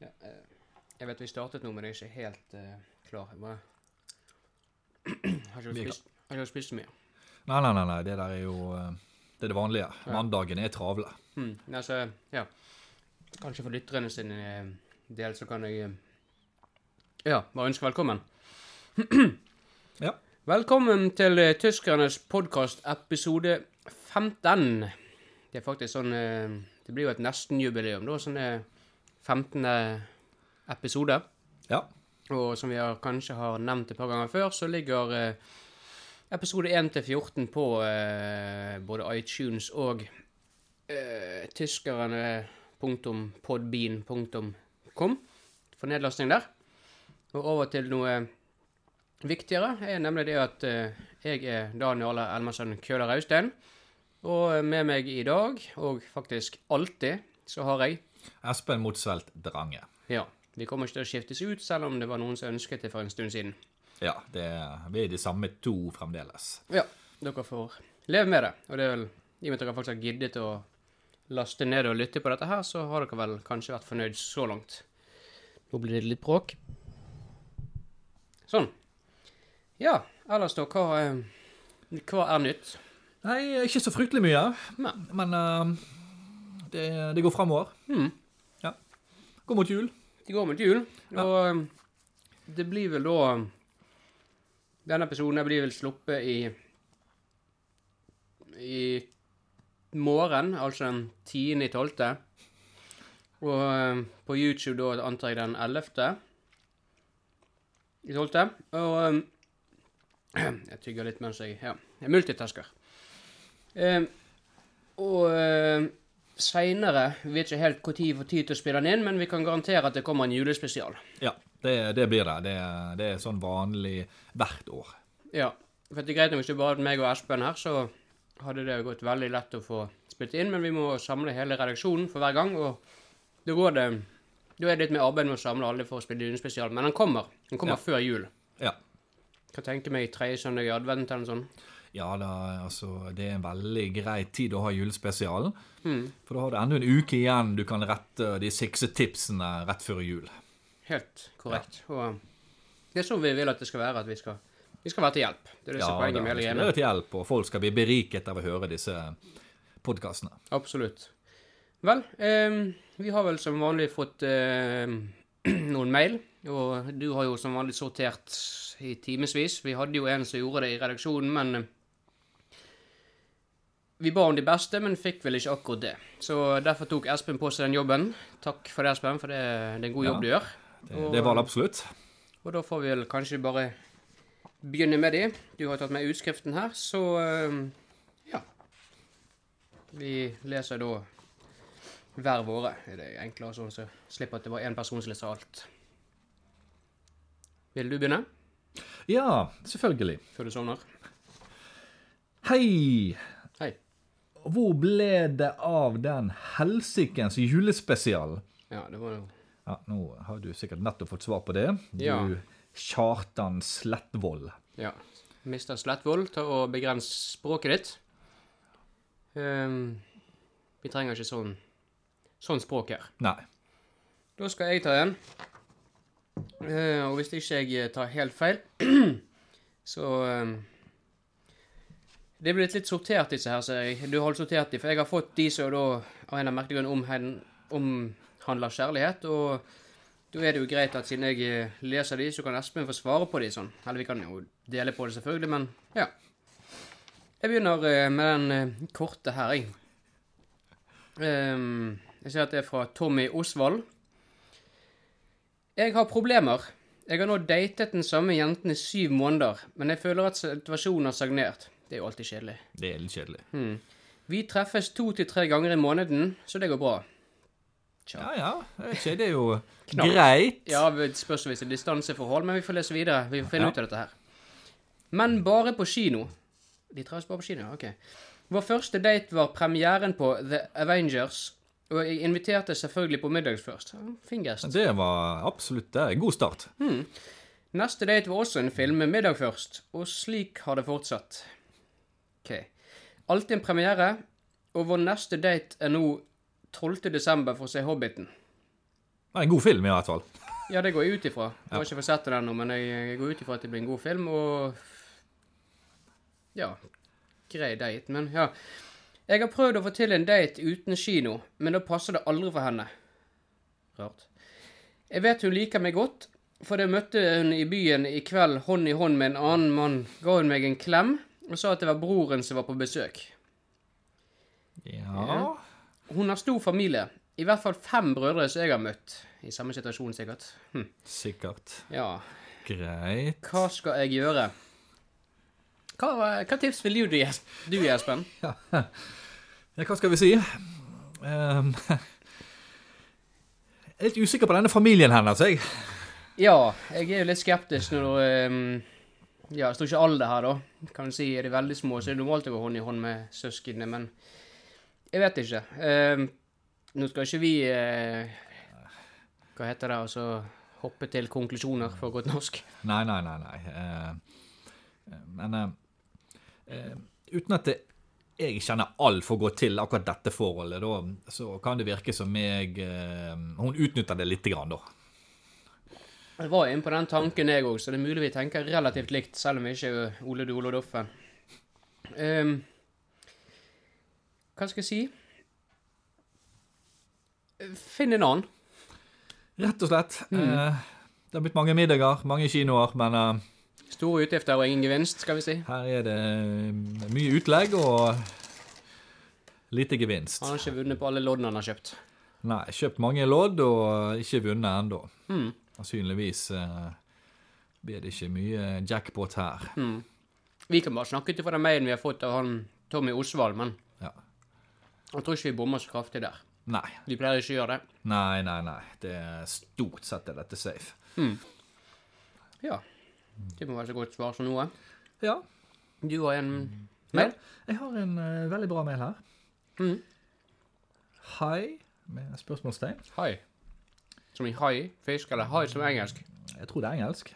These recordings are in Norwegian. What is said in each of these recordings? Ja, eh, jeg vet vi startet nå, men jeg er ikke helt eh, klar. Jeg bare har ikke Vi er spist, har ikke spist så mye. Nei, nei, nei, nei, det der er jo eh, Det er det vanlige. Ja. Mandagene er travle. Hmm, altså, ja. Kanskje for lytterne sin eh, del så kan jeg eh, ja, bare ønske velkommen. Ja. Velkommen til eh, Tyskernes podkast episode 15. Det er faktisk sånn eh, Det blir jo et nestenjubileum, da. Sånn eh, 15. episode. Ja. Og som vi har, kanskje har nevnt et par ganger før, så ligger eh, episode 1 til 14 på eh, både iTunes og eh, tyskerne.podbean.com for nedlasting der. Og over til noe viktigere er nemlig det at eh, jeg er Dan Jarle Elmersen Køhler Austein. Og med meg i dag, og faktisk alltid, så har jeg Espen Motsvelt Drange. Ja, vi kommer ikke til å skiftes ut, selv om det var noen som ønsket det for en stund siden. Ja, det er, vi er de samme to fremdeles. Ja, dere får leve med det. Og det er vel, i og med at dere faktisk har giddet å laste ned og lytte på dette her, så har dere vel kanskje vært fornøyd så langt. Nå blir det litt bråk. Sånn. Ja, ellers da, hva, eh, hva er nytt? Nei, ikke så fryktelig mye. Nei. Men eh, det, det går fremover. Mhm. Ja. Går mot jul. Det går mot jul, og eh, det blir vel da um, Denne episoden her blir vel sluppet i i morgen, altså den 10.12. Og eh, på YouTube da antar jeg den 11. i 12. Og eh, Jeg tygger litt mens jeg Ja, jeg multitasker. Eh, og eh, seinere. Vi vet ikke helt når vi får tid til å spille den inn, men vi kan garantere at det kommer en julespesial. Ja, det, det blir det. det. Det er sånn vanlig hvert år. Ja, for det er greit nok hvis det bare hadde meg og Espen her, så hadde det gått veldig lett å få spilt inn, men vi må samle hele redaksjonen for hver gang, og da går det Da er det litt mer arbeid med å samle alle for å spille julespesial, men den kommer. Den kommer Ja. før jul. Ja. Kan tenke meg tredje søndag i advent eller noe sånt. Ja, da, altså, det er en veldig grei tid å ha julespesialen. Mm. For da har du enda en uke igjen du kan rette de siste tipsene rett før jul. Helt korrekt. Og det er sånn vi vil at det skal være, at vi skal, vi skal være til hjelp. Det er det som er poenget med hele skal greiene. være til hjelp, og folk skal bli beriket av å høre disse podkastene. Absolutt. Vel, ehm, vi har vel som vanlig fått ehm, noen mail, og du har jo som vanlig sortert i timevis. Vi hadde jo en som gjorde det i redaksjonen, men eh, vi ba om de beste, men fikk vel ikke akkurat det. Så derfor tok Espen på seg den jobben. Takk for det, Espen, for det, det er en god Ja. jobb du gjør. Det, det var det absolutt. Og da får vi vel kanskje bare begynne med de. Du har tatt med utskriften her, så eh, ja. Vi leser da hver våre. Er det enklere sånn, så slipper at det var én person som leser alt. Vil du begynne? Ja, selvfølgelig. Før du sovner? Hei! Hei. Hvor ble det av den helsikens julespesialen? Ja, det var jo Ja, nå har du sikkert nettopp fått svar på det. Du, Ja. Kjartan Slettvold. Ja. Mr. Slettvold, ta og begrens språket ditt. Ehm, vi trenger ikke sånn, sånn språk her. Nei. Da skal jeg ta en. Eh, og hvis ikke jeg eh, tar helt feil, så eh, Det er blitt litt sortert, disse her, ser jeg. Du har sortert de, for jeg har fått de som da av en eller annen merkelig grunn omhen- omhandler kjærlighet. Og da er det jo greit at siden jeg eh, leser de, så kan Espen få svare på de sånn. Eller vi kan jo dele på det, selvfølgelig, men ja. Jeg begynner eh, med den eh, korte her, jeg. Ehm, jeg ser at det er fra Tommy Osvald. Jeg har problemer. Jeg har nå datet den samme jenten i syv måneder, men jeg føler at situasjonen har stagnert. Det er jo alltid kjedelig. Det er litt kjedelig. Hm. Vi treffes to til tre ganger i måneden, så det går bra. Ja, ja. Det er, ikke, det er jo Knapt. greit. Ja, det spørs om vi er distanseforhold, men vi får lese videre. Vi får finne Ja. ut av dette her. Men bare på kino. De treffes bare på kino, ja, ok. Vår første date var premieren på The Avengers, og jeg inviterte selvfølgelig på middags først. Ja, Fin gest. Det var absolutt det. er en God start. Neste date var også en film med middag først, og slik har det fortsatt. Ok. Alltid en premiere, og vår neste date er nå 12. desember for å se Hobbiten. Det er en god film, i hvert fall. Ja, det går jeg ut ifra. Jeg har ikke fått sett den ennå, men jeg, jeg går ut ifra at det blir en god film, og Ja. Grei date, men ja. Jeg har prøvd å få til en date uten kino, men da passer det aldri for henne. Rart. Jeg vet hun liker meg godt, for det møtte hun i byen i kveld hånd i hånd med en annen mann, ga hun meg en klem og sa at det var broren som var på besøk. Ja Hun har stor familie, i hvert fall fem brødre som jeg har møtt. I samme situasjon, sikkert. Hm. Sikkert. Ja, Greit. Hva skal jeg gjøre? Hva, hva tips vil du gi, Jes- du gi, Espen? Ja, hva skal vi si? Ehm, jeg er litt usikker på denne familien hennes, jeg. Ja, jeg er jo litt skeptisk når ehm, Ja, jeg står ikke alder her, da. Kan du si Er de veldig små, så er det normalt å gå hånd i hånd med søsknene, men jeg vet ikke. Ehm, nå skal ikke vi eh, Hva heter det, altså Hoppe til konklusjoner, for godt norsk. Nei, nei, nei. nei. Ehm, men eh, eh, uten at det, jeg kjenner altfor godt til akkurat dette forholdet, da, så kan det virke som jeg eh, Hun utnytter det lite grann, da. Jeg var inne på den tanken, jeg òg, så det er mulig vi tenker relativt likt, selv om vi ikke er Ole Dole og Doffen. Ehm, hva skal jeg si? Finn en annen. Rett og slett. Eh, det har blitt mange middager, mange kinoer, men eh, Store utgifter og ingen gevinst, skal vi si. her er det eh, mye utlegg og lite gevinst. Han har ikke vunnet på alle loddene han har kjøpt. Nei, kjøpt mange lodd og eh, ikke vunnet ennå. Mm. Sannsynligvis eh, blir det ikke mye jackpot her. Vi kan bare snakke ut ifra den mailen vi har fått av han Tommy Osvald, men Ja. jeg tror ikke vi bommer så kraftig der. Nei, Vi pleier ikke å gjøre det. nei, nei. nei. Det er Stort sett er dette safe. Ja. Det må være så godt svar som noe. Ja. Du har en mail? Jeg har en eh, veldig bra mail her. Mhm. Hei, med spørsmålstegn. Hai. Som i hai? Fisk? Eller hai som engelsk? Jeg tror det er engelsk.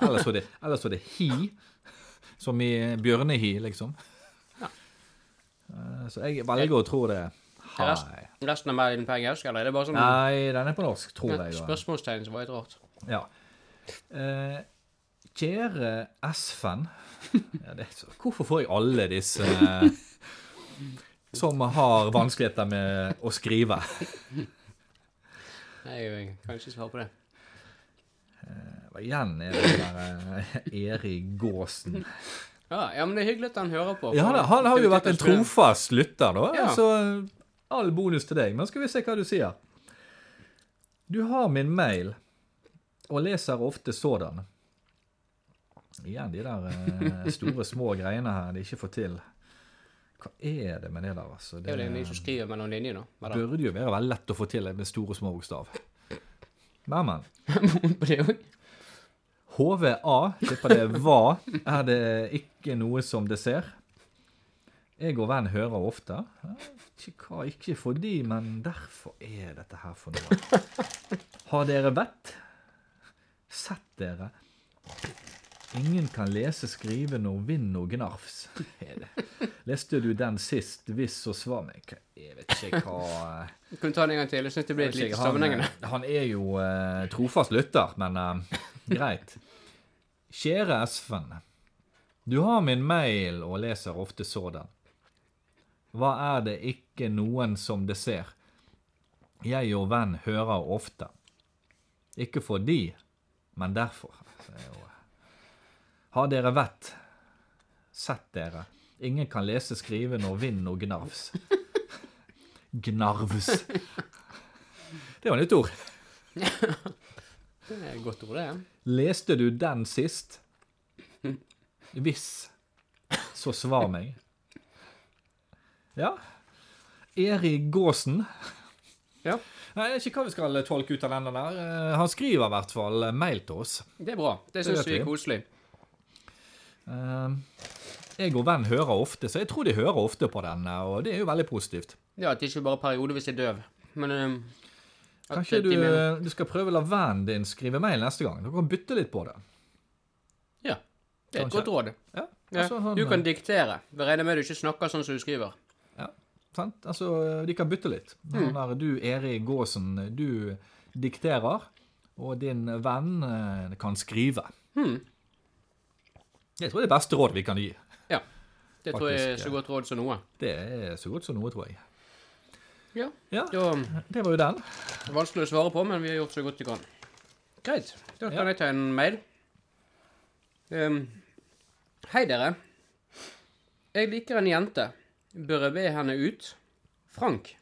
Eller så er det, eller så er det he, som i bjørnehi, liksom. Eh, Så jeg velger å tro det. Er er resten- Hei. Resten av mailen på engelsk, eller er det bare sånn Nei, den er på norsk, tror jeg. et da. spørsmålstegn som var litt rart? Ja. Eh, kjære Esfen ja, det er så, Hvorfor får jeg alle disse eh, som har vanskeligheter med å skrive? Nei, jeg kan ikke svare på det. Og Igjen er det der eh, Erik Gåsen. Ja, ja, men det er hyggelig at han hører på. Ja, for da, han har det jo betyr vært en at han trofast lytter, da. Ja. Så eh, all bonus til deg. Men skal vi se hva du sier. Du har min mail, og leser ofte sådan. Igjen de der eh, store, små greiene her de ikke får til. Hva er det med det der, altså? skulle- Det er jo det de som skriver mellom linjene. Hva da? burde jo være veldig lett å få til med store, små bokstav. Men, men. På det også? HVA, tipper det var, er det ikke noe som det ser. Jeg og venn hører ofte. Ja, Ikke, hva, ikke fordi, men derfor er dette her for noe. Har dere vett? Sett dere. Ingen kan lese, skrive når vind og gnarfs. Er det. Leste du den sist, hvis og svar meg? Jeg vet ikke hva Kan du ta den en gang til? Jeg synes det blir litt lite sammenhengende. han, eh. han er jo eh, trofast lytter, men eh, greit. Kjære Espen. Du har min mail og leser ofte sådan. Hva er det ikke noen som det ser? Jeg og venn hører ofte. Ikke fordi, men derfor. Det er jo- eh, Har dere vett? Sett dere. Ingen kan lese, skrive når vind og gnarvs. Gnarvs. Det var nytt ord. Det er et godt ord, det. ja. Leste du den sist? Hvis, så svar meg. Ja. Erik Gåsen. Ja, Nei, jeg vet ikke hva vi skal tolke ut av denne der. Eh, Han skriver i hvert fall eh, mail til oss. det er bra. Det synes vet vi er vi. koselig. Eh, Jeg og venn hører ofte, så jeg tror de hører ofte på den, og det er jo veldig positivt. Ja, at det ikke bare er periodevis er døv. Men øhm, at Kanskje de du, eh, mener- du skal prøve å la vennen din skrive mail neste gang? Du kan bytte litt på det. Ja. Det er et Kanskje. godt råd. Ja, Ja. altså, han- Du kan diktere. Vi regner med du ikke snakker sånn som du skriver. Ja. Sant? Altså, de kan bytte litt. Når du, Erik Gåsen, du dikterer, og din venn eh, kan skrive. Jeg tror det er det beste råd vi kan gi. Ja. Det tror jeg er så Faktisk, ja. godt råd som noe. Det er så godt som noe, tror jeg. Ja. Ja, Da det var jo den. Vanskelig å svare på, men vi har gjort så godt vi kan. Greit. Da kan Ja. jeg ta en mail. Ehm, hei, dere. Jeg liker en jente. Bør jeg be henne ut? Frank.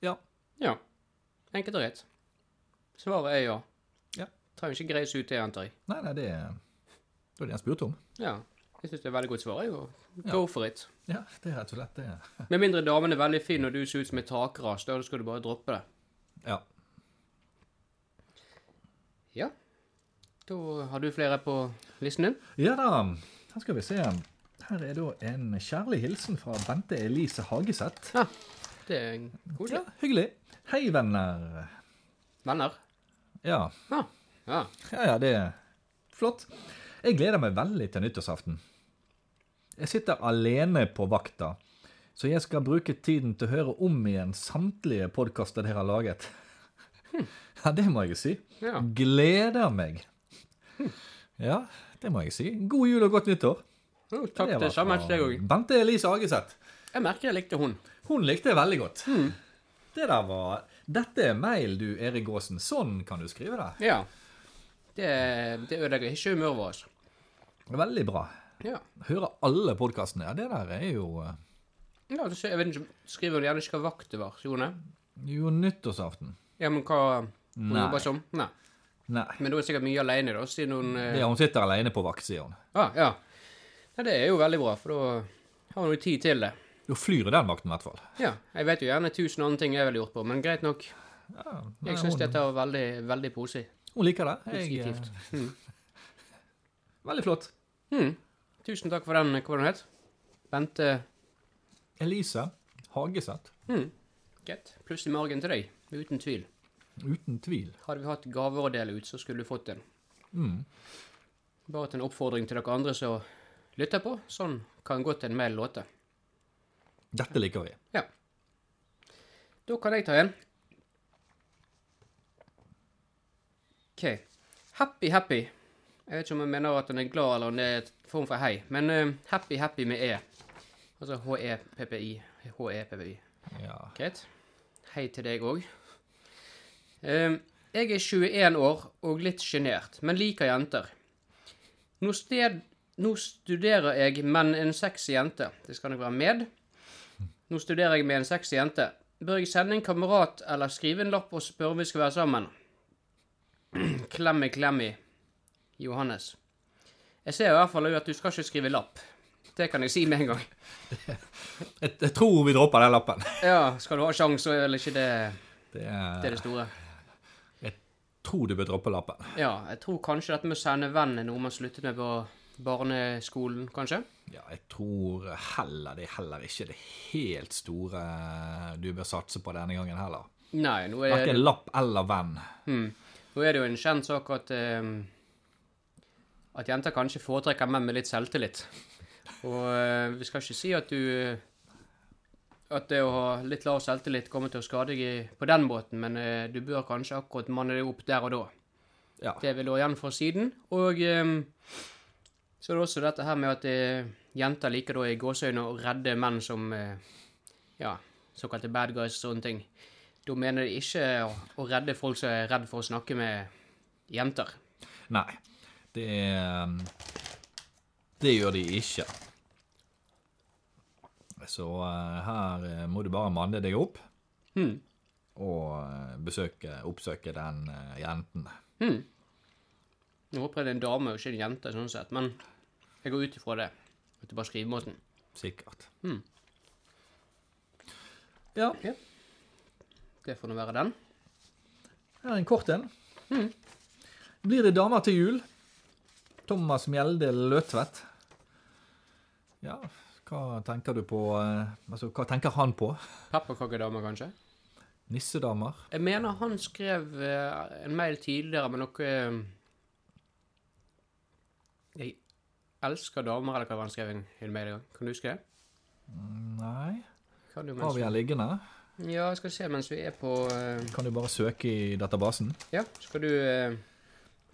Ja. Ja. Enkelt og greit. Svaret er ja. Ja. Trenger ikke greie seg ut det, antar jeg. Nei, nei, det er det var det han spurte om. Ja. Jeg syns det er et veldig godt svar. jeg, og Go for it. Ja, det er rett og slett det. Med mindre damen er veldig fin og du ser ut som et takras, da skal du bare droppe det. Ja. Ja. Da har du flere på listen din. ja da, her skal vi se. Her er da en kjærlig hilsen fra Bente Elise Hageseth. Ja, det er koselig. Ja, hyggelig. Hei, venner. Venner. Ja, Ja. ja. Ja, ja, det er flott. Jeg gleder meg veldig til nyttårsaften. Jeg sitter alene på vakta, så jeg skal bruke tiden til å høre om igjen samtlige podkaster dere har laget. Ja, det må jeg jo si. Hm. Ja. Hm. Gleder meg. Ja, det må jeg si. God jul og godt nyttår. Jo, takk var det samme fra til deg òg. Bente Elise Hageseth. Jeg merker jeg likte hun. Hun likte det veldig godt. Hm. Det der var Dette er mail, du Erik Aasen. Sånn kan du skrive det. Ja. Det, det ødelegger ikke humøret vårt. Veldig bra. Ja. Høre alle podkastene. Ja, det der er jo eh, ja så, jeg vet ikke, Skriver hun gjerne ikke hva vakt det var, Jone? Jo, nyttårsaften. Ja, men hva hun Nei. jobber som? Nei. Nei. Men da er hun sikkert mye alene da, siden hun eh, Ja, hun sitter alene på vakt, sier hun. ah, ja. Nei, det er jo veldig bra, for da har hun jo tid til det. Jo, flyr den vakten i hvert fall. Ja. Jeg vet jo gjerne tusen andre ting jeg ville gjort på, men greit nok. Ja, nei, Jeg syns hun, dette var veldig, veldig positivt. hun liker det. Jeg, eh, Positivt. Mm. veldig flott. Mm. Tusen takk for den, hva var det hun het? Bente Elise Hageseth. Mm. Greit. Pluss i margen til deg, uten tvil. Uten tvil. Hadde vi hatt gaver å dele ut, så skulle du fått en. Mm. Bare til en oppfordring til dere andre som lytter på. Sånn kan godt en mail låte. Dette liker vi. Ja. Da kan jeg ta en. OK. Happy Happy. Jeg vet ikke om jeg mener at den er glad, eller om det er et form for hei, men eh, Happy Happy med E. Altså H-E-P-P-I. H-E-P-P-I. Ja. Greit. Hei til deg òg. Jeg er 21 år og litt sjenert, men liker jenter. Nå, sted, nå studerer jeg men en sexy jente. Det skal nok være med. Nå studerer jeg med en sexy jente. Bør jeg sende en kamerat eller skrive en lapp og spørre om vi skal være sammen? Klemmi, klemmi. Johannes. Jeg ser i hvert fall at du skal ikke skrive lapp. Det kan jeg si med en gang. Jeg, jeg tror vi dropper den lappen. Ja, skal du ha sjanse, så er vel ikke det Det, det, er er, det store. jeg tror du bør droppe lappen. Ja, jeg tror kanskje dette med å sende venn er noe man sluttet med på barneskolen, kanskje? Ja, jeg tror heller det er heller ikke det helt store du bør satse på denne gangen heller. Nei, nå er, Verken lapp eller venn. Hmm. nå er det jo en kjent sak at ehm, at jenter kanskje foretrekker menn med litt selvtillit. Og eh, vi skal ikke si at du at det å ha litt lav selvtillit kommer til å skade deg i- på den måten, men eh, du bør kanskje akkurat manne deg opp der og da. Ja. Det vil lå igjen fra siden. Og ehm, så er det også dette her med at eh, jenter liker da i gåseøyne å redde menn som eh, ja, såkalte bad guys og sånne ting. Da mener de ikke å, å redde folk som er redd for å snakke med jenter. Nei. Det er mm, Det gjør de ikke. Så eh, her eh, må du bare manne deg opp Hmm. og eh, besøke, oppsøke den eh, jenten. Hmm. Nå håper jeg det er en dame og ikke en jente, sånn sett, men jeg går ut ifra det. At det bare er skrivemåten. Sikkert. Mm. Ja, Det får nå være den. her er en kort en. Blir det damer til jul? Thomas Mjelde Løtvedt. Ja, hva tenker du på eh, Altså, hva tenker han på? Pepperkakedame, kanskje? Nissedamer? Jeg mener han skrev eh, en mail tidligere med noe eh, Jeg elsker damer, eller hva var han skrev i en mail en gang? Kan du huske det? Nei. Kan du Har mens... vi her liggende? Ja, jeg skal se mens vi er på eh, Kan du bare søke i databasen? Ja, skal du eh,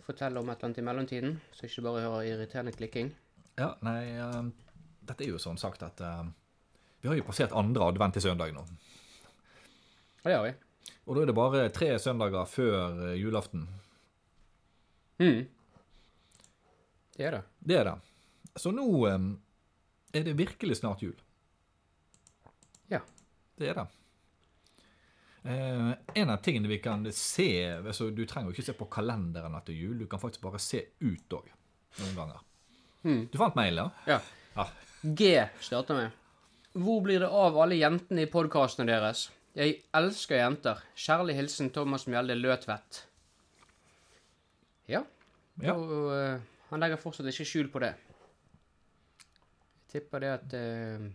fortelle om et eller annet i mellomtiden? Så ikke du bare hører irriterende klikking. Ja, nei eh, Dette er jo sånn sagt at eh, Vi har jo passert andre advent til søndag nå. Ja, det har vi. Og da er det bare tre søndager før eh, julaften. Mm. Det er det. Det er det. Så nå eh, er det virkelig snart jul. Ja. Det er det. Eh, en av tingene vi kan se altså Du trenger jo ikke se på kalenderen at det er jul. Du kan faktisk bare se ut òg, noen ganger. Mm. Du fant mailen? Ja. Ja. G starter med. Hvor blir det av alle jentene i podkastene deres? Jeg elsker jenter. Kjærlig hilsen Thomas Mjelde Løtvedt. Ja. Ja. Og eh, han legger fortsatt ikke skjul på det. Jeg tipper det at eh,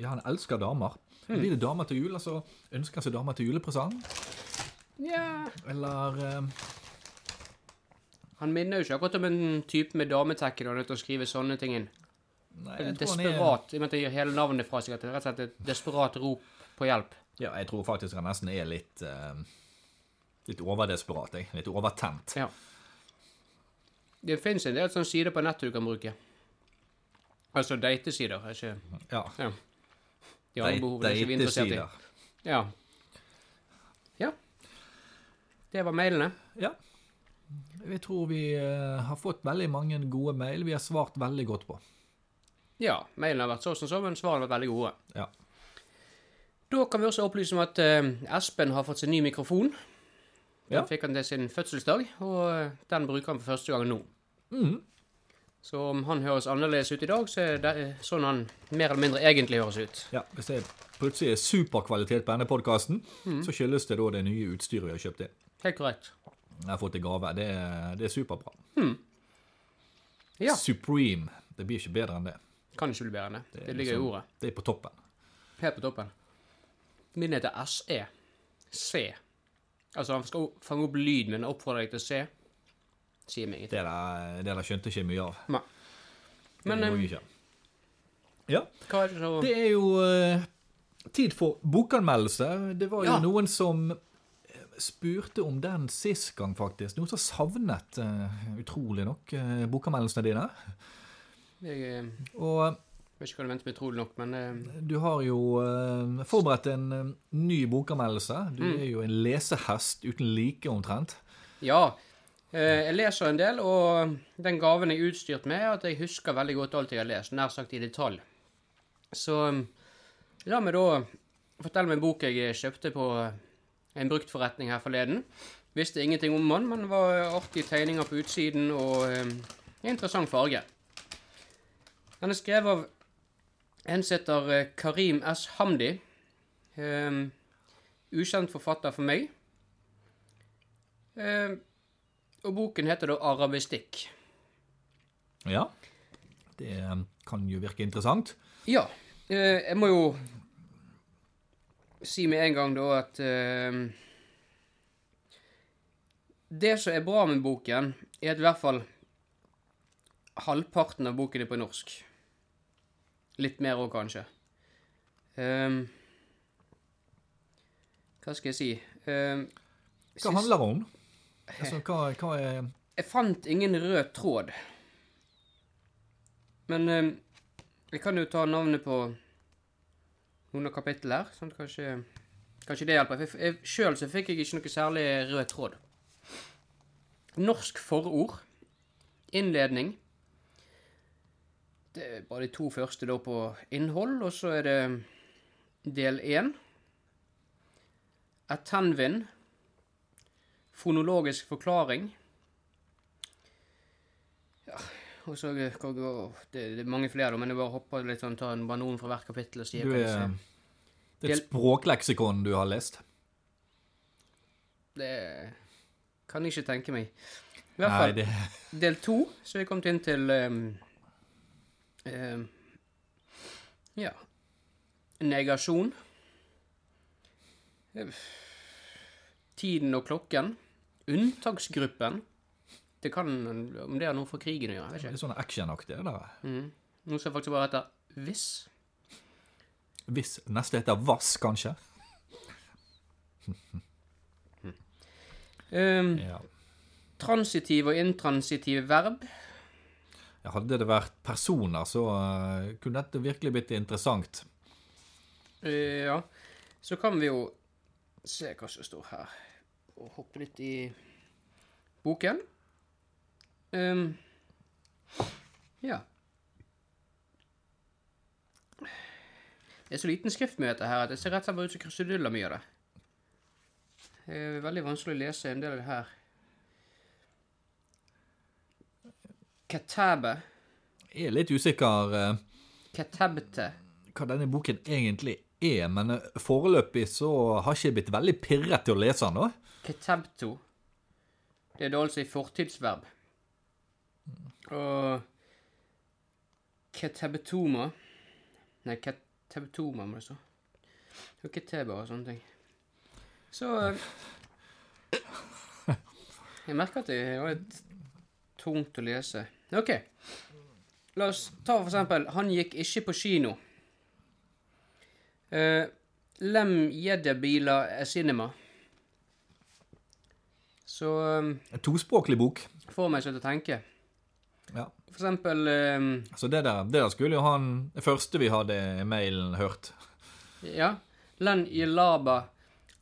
Ja, han elsker damer. Hmm. Blir det damer til jul, altså ønsker han seg damer til julepresang? Nja Eller eh, Han minner jo ikke akkurat om en type med dametekke når han er nødt til å skrive sånne ting inn. Nei, jeg tror han er- Desperat. I og med at han gir hele navnet fra seg. At det er rett og slett et desperat rop på hjelp. Ja, jeg tror faktisk han nesten er litt eh, Litt overdesperat, jeg. Litt overtent. Ja. Det fins en del sånne sider på nettet du kan bruke. Altså datesider. er Ikke Ja. ja. De andre behovene er ikke vi interessert i. Datesider. Ja. ja. Det var mailene. Ja. Jeg tror vi eh, har fått veldig mange gode mail vi har svart veldig godt på. Ja, mailene har vært så som så, men svarene har vært veldig gode. Ja. Da kan vi også opplyse om at eh, Espen har fått sin ny mikrofon. Den Ja. fikk han til sin fødselsdag, og eh, den bruker han for første gang nå. Mhm. Så om han høres annerledes ut i dag, så er det eh, sånn han mer eller mindre egentlig høres ut. ja hvis det plutselig er superkvalitet på denne podkasten, Hmm. så skyldes det da det nye utstyret vi har kjøpt inn. Helt korrekt. Jeg har fått i gave. Det, er- det er superbra. Hmm. Ja. Supreme. Det blir ikke bedre enn det. Kan ikke bli bedre enn det. er Det ligger i liksom- ordet. Det er på toppen. Helt på toppen. Min heter SE. C. Altså, han skal fange opp lyd, men jeg oppfordrer deg til å se. Sier meg ingenting. Det der, det der skjønte ikke jeg mye av. Nei. Det Men gjorde eh, jeg ikke. Ja, hva er det så det er jo eh, tid for bokanmeldelse. Det var jo Ja. noen som eh, spurte om den sist gang, faktisk. Noen som savnet, eh, utrolig nok, eh, bokanmeldelsene dine. Jeg eh, Og vet ikke hva du venter med, trolig nok, men eh, du har jo eh, forberedt en eh, ny bokanmeldelse. Du Hmm. er jo en lesehest uten like, omtrent. Ja. Eh, jeg leser en del, og den gaven jeg er utstyrt med, er at jeg husker veldig godt alt jeg har lest, nær sagt i detalj. Så eh, la meg da fortelle om en bok jeg kjøpte på en bruktforretning her forleden. Visste ingenting om den, men det var artige tegninger på utsiden og eh, en interessant farge. Den er skrevet av en som heter eh, Karim S. Hamdi. Eh, ukjent forfatter for meg. Eh, og boken heter da Arabistikk. Ja. Det eh, kan jo virke interessant. Ja. Eh, jeg må jo si med en gang da at eh, Det som er bra med boken, er at i hvert fall halvparten av boken er på norsk. Litt mer òg, kanskje. Eh, hva skal jeg si eh, Hva handler det om? Altså, hva, hva er Jeg fant ingen rød tråd. Men eh, jeg kan jo ta navnet på noen av kapitlene her. Sånn at kanskje, kanskje det hjelper. For jeg- jeg- Sjøl så fikk jeg ikke noe særlig rød tråd. Norsk forord. Innledning. Det er bare de to første da på innhold, og så er det del én. Attenvin. Fonologisk forklaring. Og så eh, hva går- det, det er mange flere, da, men jeg bare hopper litt sånn, tar en banon fra hvert kapittel og sier Du hva det er som- Det er et språkleksikon du har lest. Det kan jeg ikke tenke meg. I hvert Nei, fall det, del to, så vi kom inn til ehm, ehm, Ja Negasjon. Tiden og klokken. Unntaksgruppen. Det kan, om det har noe for krigen å gjøre, jeg Det vet er sånn actionaktig, det der. ikke. Mm. Nå skal jeg faktisk bare etter hvis. Hvis neste heter Vass, kanskje? Um, Ja. transitiv og intransitiv verb. Ja, Hadde det vært personer, så eh, kunne dette virkelig blitt interessant. Eh, ja. Så kan vi jo se hva som står her, og hoppe litt i boken. Ehm, ja. Det er så liten skrift med dette her at det ser rett og slett bare ut som kruseduller mye av det. Det er veldig vanskelig å lese en del av det her. Katabe. Jeg er litt usikker eh, Katabte. hva denne boken egentlig er, men eh, foreløpig så har ikke jeg blitt veldig pirret til å lese den. da. Ketabto. Det er da altså i fortidsverb. Og ketabetoma Nei, ketabetoma må det stå. Og keteba og sånne ting. Så eh, Jeg merker at det var litt tungt å lese. OK. La oss ta for eksempel Han gikk ikke på kino. Uh, Lem jedebila cinema. Så um, En tospråklig bok. får meg ikke til å tenke. Ja. For eksempel um, Så det der, det der skulle jo han Det første vi hadde i mailen hørt. Ja. Len Jelaba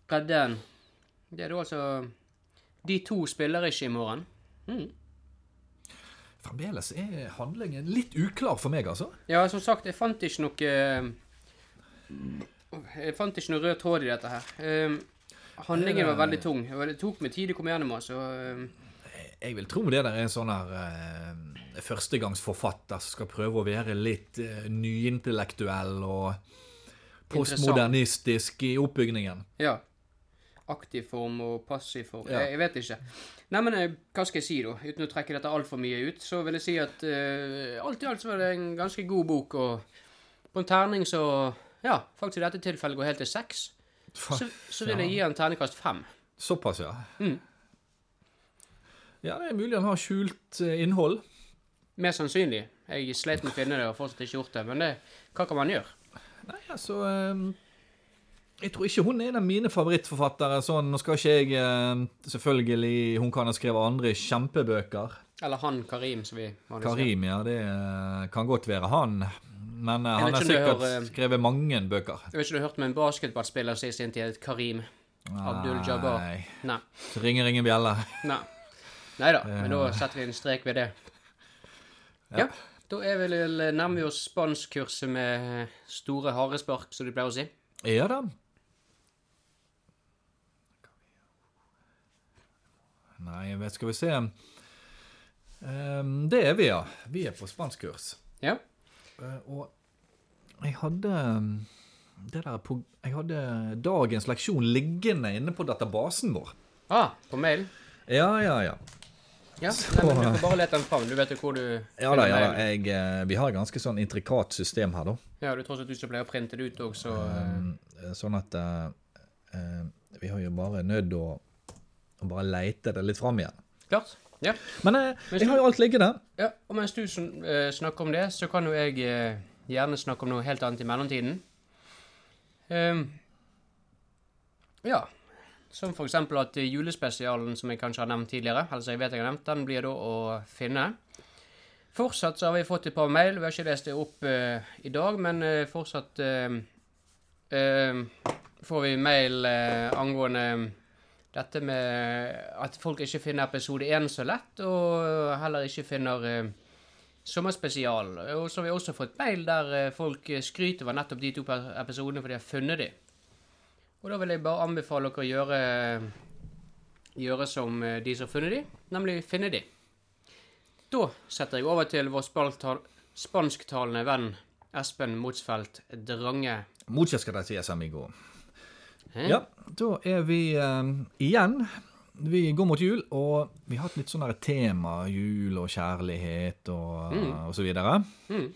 Redden. Det er da altså De to spiller ikke i morgen. Mm. Fremdeles er handlingen litt uklar for meg, altså. Ja, som sagt, jeg fant ikke noe ehm, Jeg fant ikke noe rød tråd i dette her. Um, handlingen var veldig tung. og Det tok meg tid å komme gjennom, altså. Um, Jeg vil tro det der er en sånn her eh, førstegangsforfatter som skal prøve å være litt eh, nyintellektuell og postmodernistisk i oppbygningen. Ja. Aktiv form og passiv form. Ja. Jeg, jeg vet ikke. Nei, men eh, hva skal jeg si, da? Uten å trekke dette altfor mye ut, så vil jeg si at eh, alt i alt så var det en ganske god bok, og på en terning så Ja, faktisk i dette tilfellet går helt til seks. Så, så vil jeg gi en terningkast fem. Såpass, ja. Mm. Ja, det er mulig han har skjult eh, innhold. Mer sannsynlig. Jeg sleit med å finne det og har fortsatt ikke gjort det, men det, hva kan man gjøre? Nei, altså eh, Jeg tror ikke hun er en av mine favorittforfattere. Sånn, nå skal ikke jeg eh, Selvfølgelig, hun kan ha skrevet andre kjempebøker. Eller han Karim, som vi vanligvis sier. Karim, ja, det eh, kan godt være han. Men eh, Jeg vet han ikke har om sikkert du hører, eh, skrevet mange bøker. Jeg vet ikke om du har hørt om en basketballspiller som i sin tid het Karim Abdul-Jabbar? Nei. Nei. Så ringer ingen bjelle. Nei. Neida, men Eh. da setter vi en strek ved det. Ja. Da er vi vel eh, nærmer vi oss spanskkurset med eh, store harespark, som de pleier å si. Er det? Nei, jeg vet, skal vi se Ehm, Det er vi, ja. Vi er på spanskkurs. Ja. Eh, Og jeg hadde um, det der på, Jeg hadde dagens leksjon liggende inne på databasen vår. Ah, på mail. Ja, ja, ja. Ja, Nei, men Du får bare lete den fram. Du vet jo hvor du Ja da, ja da. Jeg, eh, vi har et ganske sånn intrikat system her, da. Ja, det er tross alt du som pleier å printe det ut òg, så Eh, Sånn at eh, eh, vi har jo bare nødt å, å bare leite det litt fram igjen. Klart. Ja. Men eh, jeg har jo alt liggende. ja. Og mens du sn- eh, snakker om det, så kan jo jeg eh, gjerne snakke om noe helt annet i mellomtiden. Ehm, ja. Som for eksempel at eh, julespesialen som jeg kanskje har nevnt tidligere, altså jeg vet jeg har nevnt, den blir da å finne. Fortsatt så har vi fått et par mail, vi har ikke lest det opp eh, i dag, men eh, fortsatt eh, eh, får vi mail eh, angående dette med at folk ikke finner episode 1 så lett, og heller ikke finner eh, sommerspesial. Og så har vi også fått mail der eh, folk eh, skryter over nettopp de to per- episodene, for de har funnet de. Og da vil jeg bare anbefale dere å gjøre, eh, gjøre som eh, de som har funnet de, nemlig finne de. Da setter jeg over til vår spaltal- spansktalende venn Espen Motsfeldt Drange. Muchas gracias, amigo. Hæ? Ja, da er vi eh, igjen. Vi går mot jul, og vi har hatt litt sånne tema. Jul og kjærlighet og, og så videre. Mm.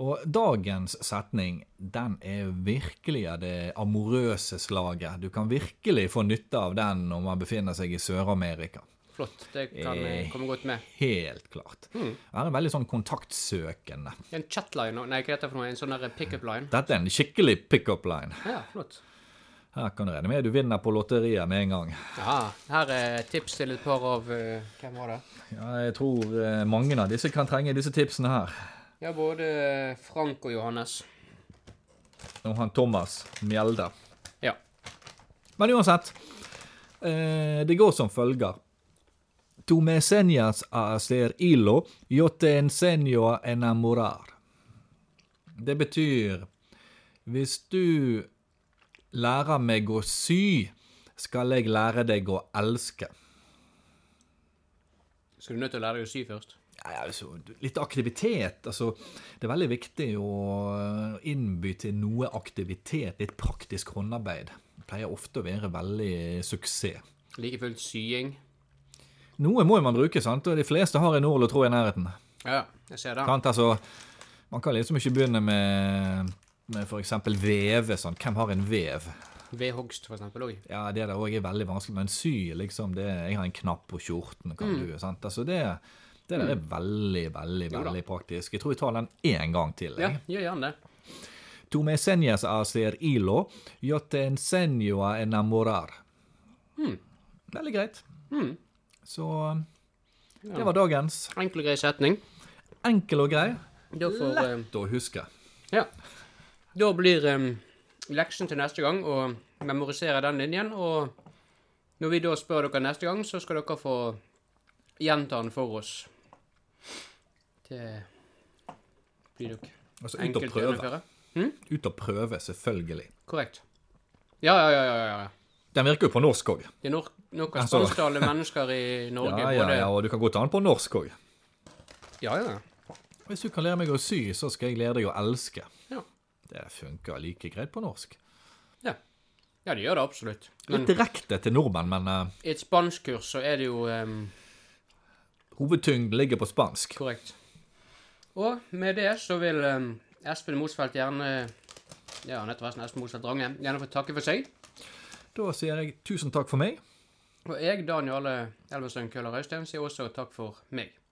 Og dagens setning, den er virkelig av det amorøse slaget. Du kan virkelig få nytte av den når man befinner seg i Sør-Amerika. Flott. Det kan jeg komme godt med. Helt klart. Mm. Han er veldig sånn kontaktsøkende. Det er En chatline og- Nei, hva heter det for noe? En sånn der pickup line? Dette er en skikkelig pickup line. Ja, flott. Her kan du regne med du vinner på lotteriet med en gang. Ja, her er tips til et par av eh, Hvem var det? Ja, jeg tror eh, mange av disse kan trenge disse tipsene her. Ja, både Frank og Johannes. Og han Thomas Mjelde. Ja. Men uansett, eh, det går som følger. Tu me enseñas a hacer hilo, yo te enseño a enamorar. Det betyr Hvis du lærer meg å sy, skal jeg lære deg å elske. Så du er nødt til å lære deg å sy først? Nei, altså, litt aktivitet. Altså, det er veldig viktig å eh, innby til noe aktivitet, litt praktisk håndarbeid. Det pleier ofte å være veldig suksess. Like fullt sying. Noe må jo man bruke, sant? og de fleste har en nål og tråd i nærheten. Ja, ja, jeg ser det. Sant? Altså, man kan liksom ikke begynne med, med f.eks. veve. Sånn. Hvem har en vev? Ved hogst, for eksempel, òg. Ja, Det der òg er veldig vanskelig, men sy, liksom det, Jeg har en knapp på skjorten, kan Mm. du? sant? Altså, det, det der er veldig, veldig da. veldig praktisk. Jeg tror jeg tar den én gang til. Ja, jeg. gjør gjerne det. Tu me enseñas a hacer hilo, yo te enseño a enamorar. Hmm. Veldig greit. Så um, det var dagens. Enkel og grei setning. Enkel og grei. Da får eh, Lett å huske. Ja. Da blir em, leksen til neste gang å memorisere den linjen, og når vi da spør dere neste gang, så skal dere få gjenta den for oss. Det blir dere Altså ut og enkelt å prøve. gjennomføre. Ut og prøve, selvfølgelig. Korrekt. Ja, ja, ja. ja, ja, ja. Den virker jo på norsk òg. Det er nok, nok av Altså- spansktalende mennesker i Norge. Ja, ja, både- ja, og du kan godt ta den på norsk òg. ja, ja. Hvis du kan lære meg å sy, så skal jeg lære deg å elske. Ja. Det funker like greit på norsk. ja. Ja, det gjør det absolutt. Men Litt direkte til nordmenn, men eh, i et spanskkurs så er det jo em, hovedtyngden ligger på spansk. Korrekt. Og med det så vil em, Espen Mosfeldt gjerne Ja, han heter forresten Espen Mosfeldt Drange. Gjerne få takke for seg. Da sier jeg tusen takk for meg. eh, Og jeg, Daniel Elvestøen Køller Øystein, sier også takk for meg.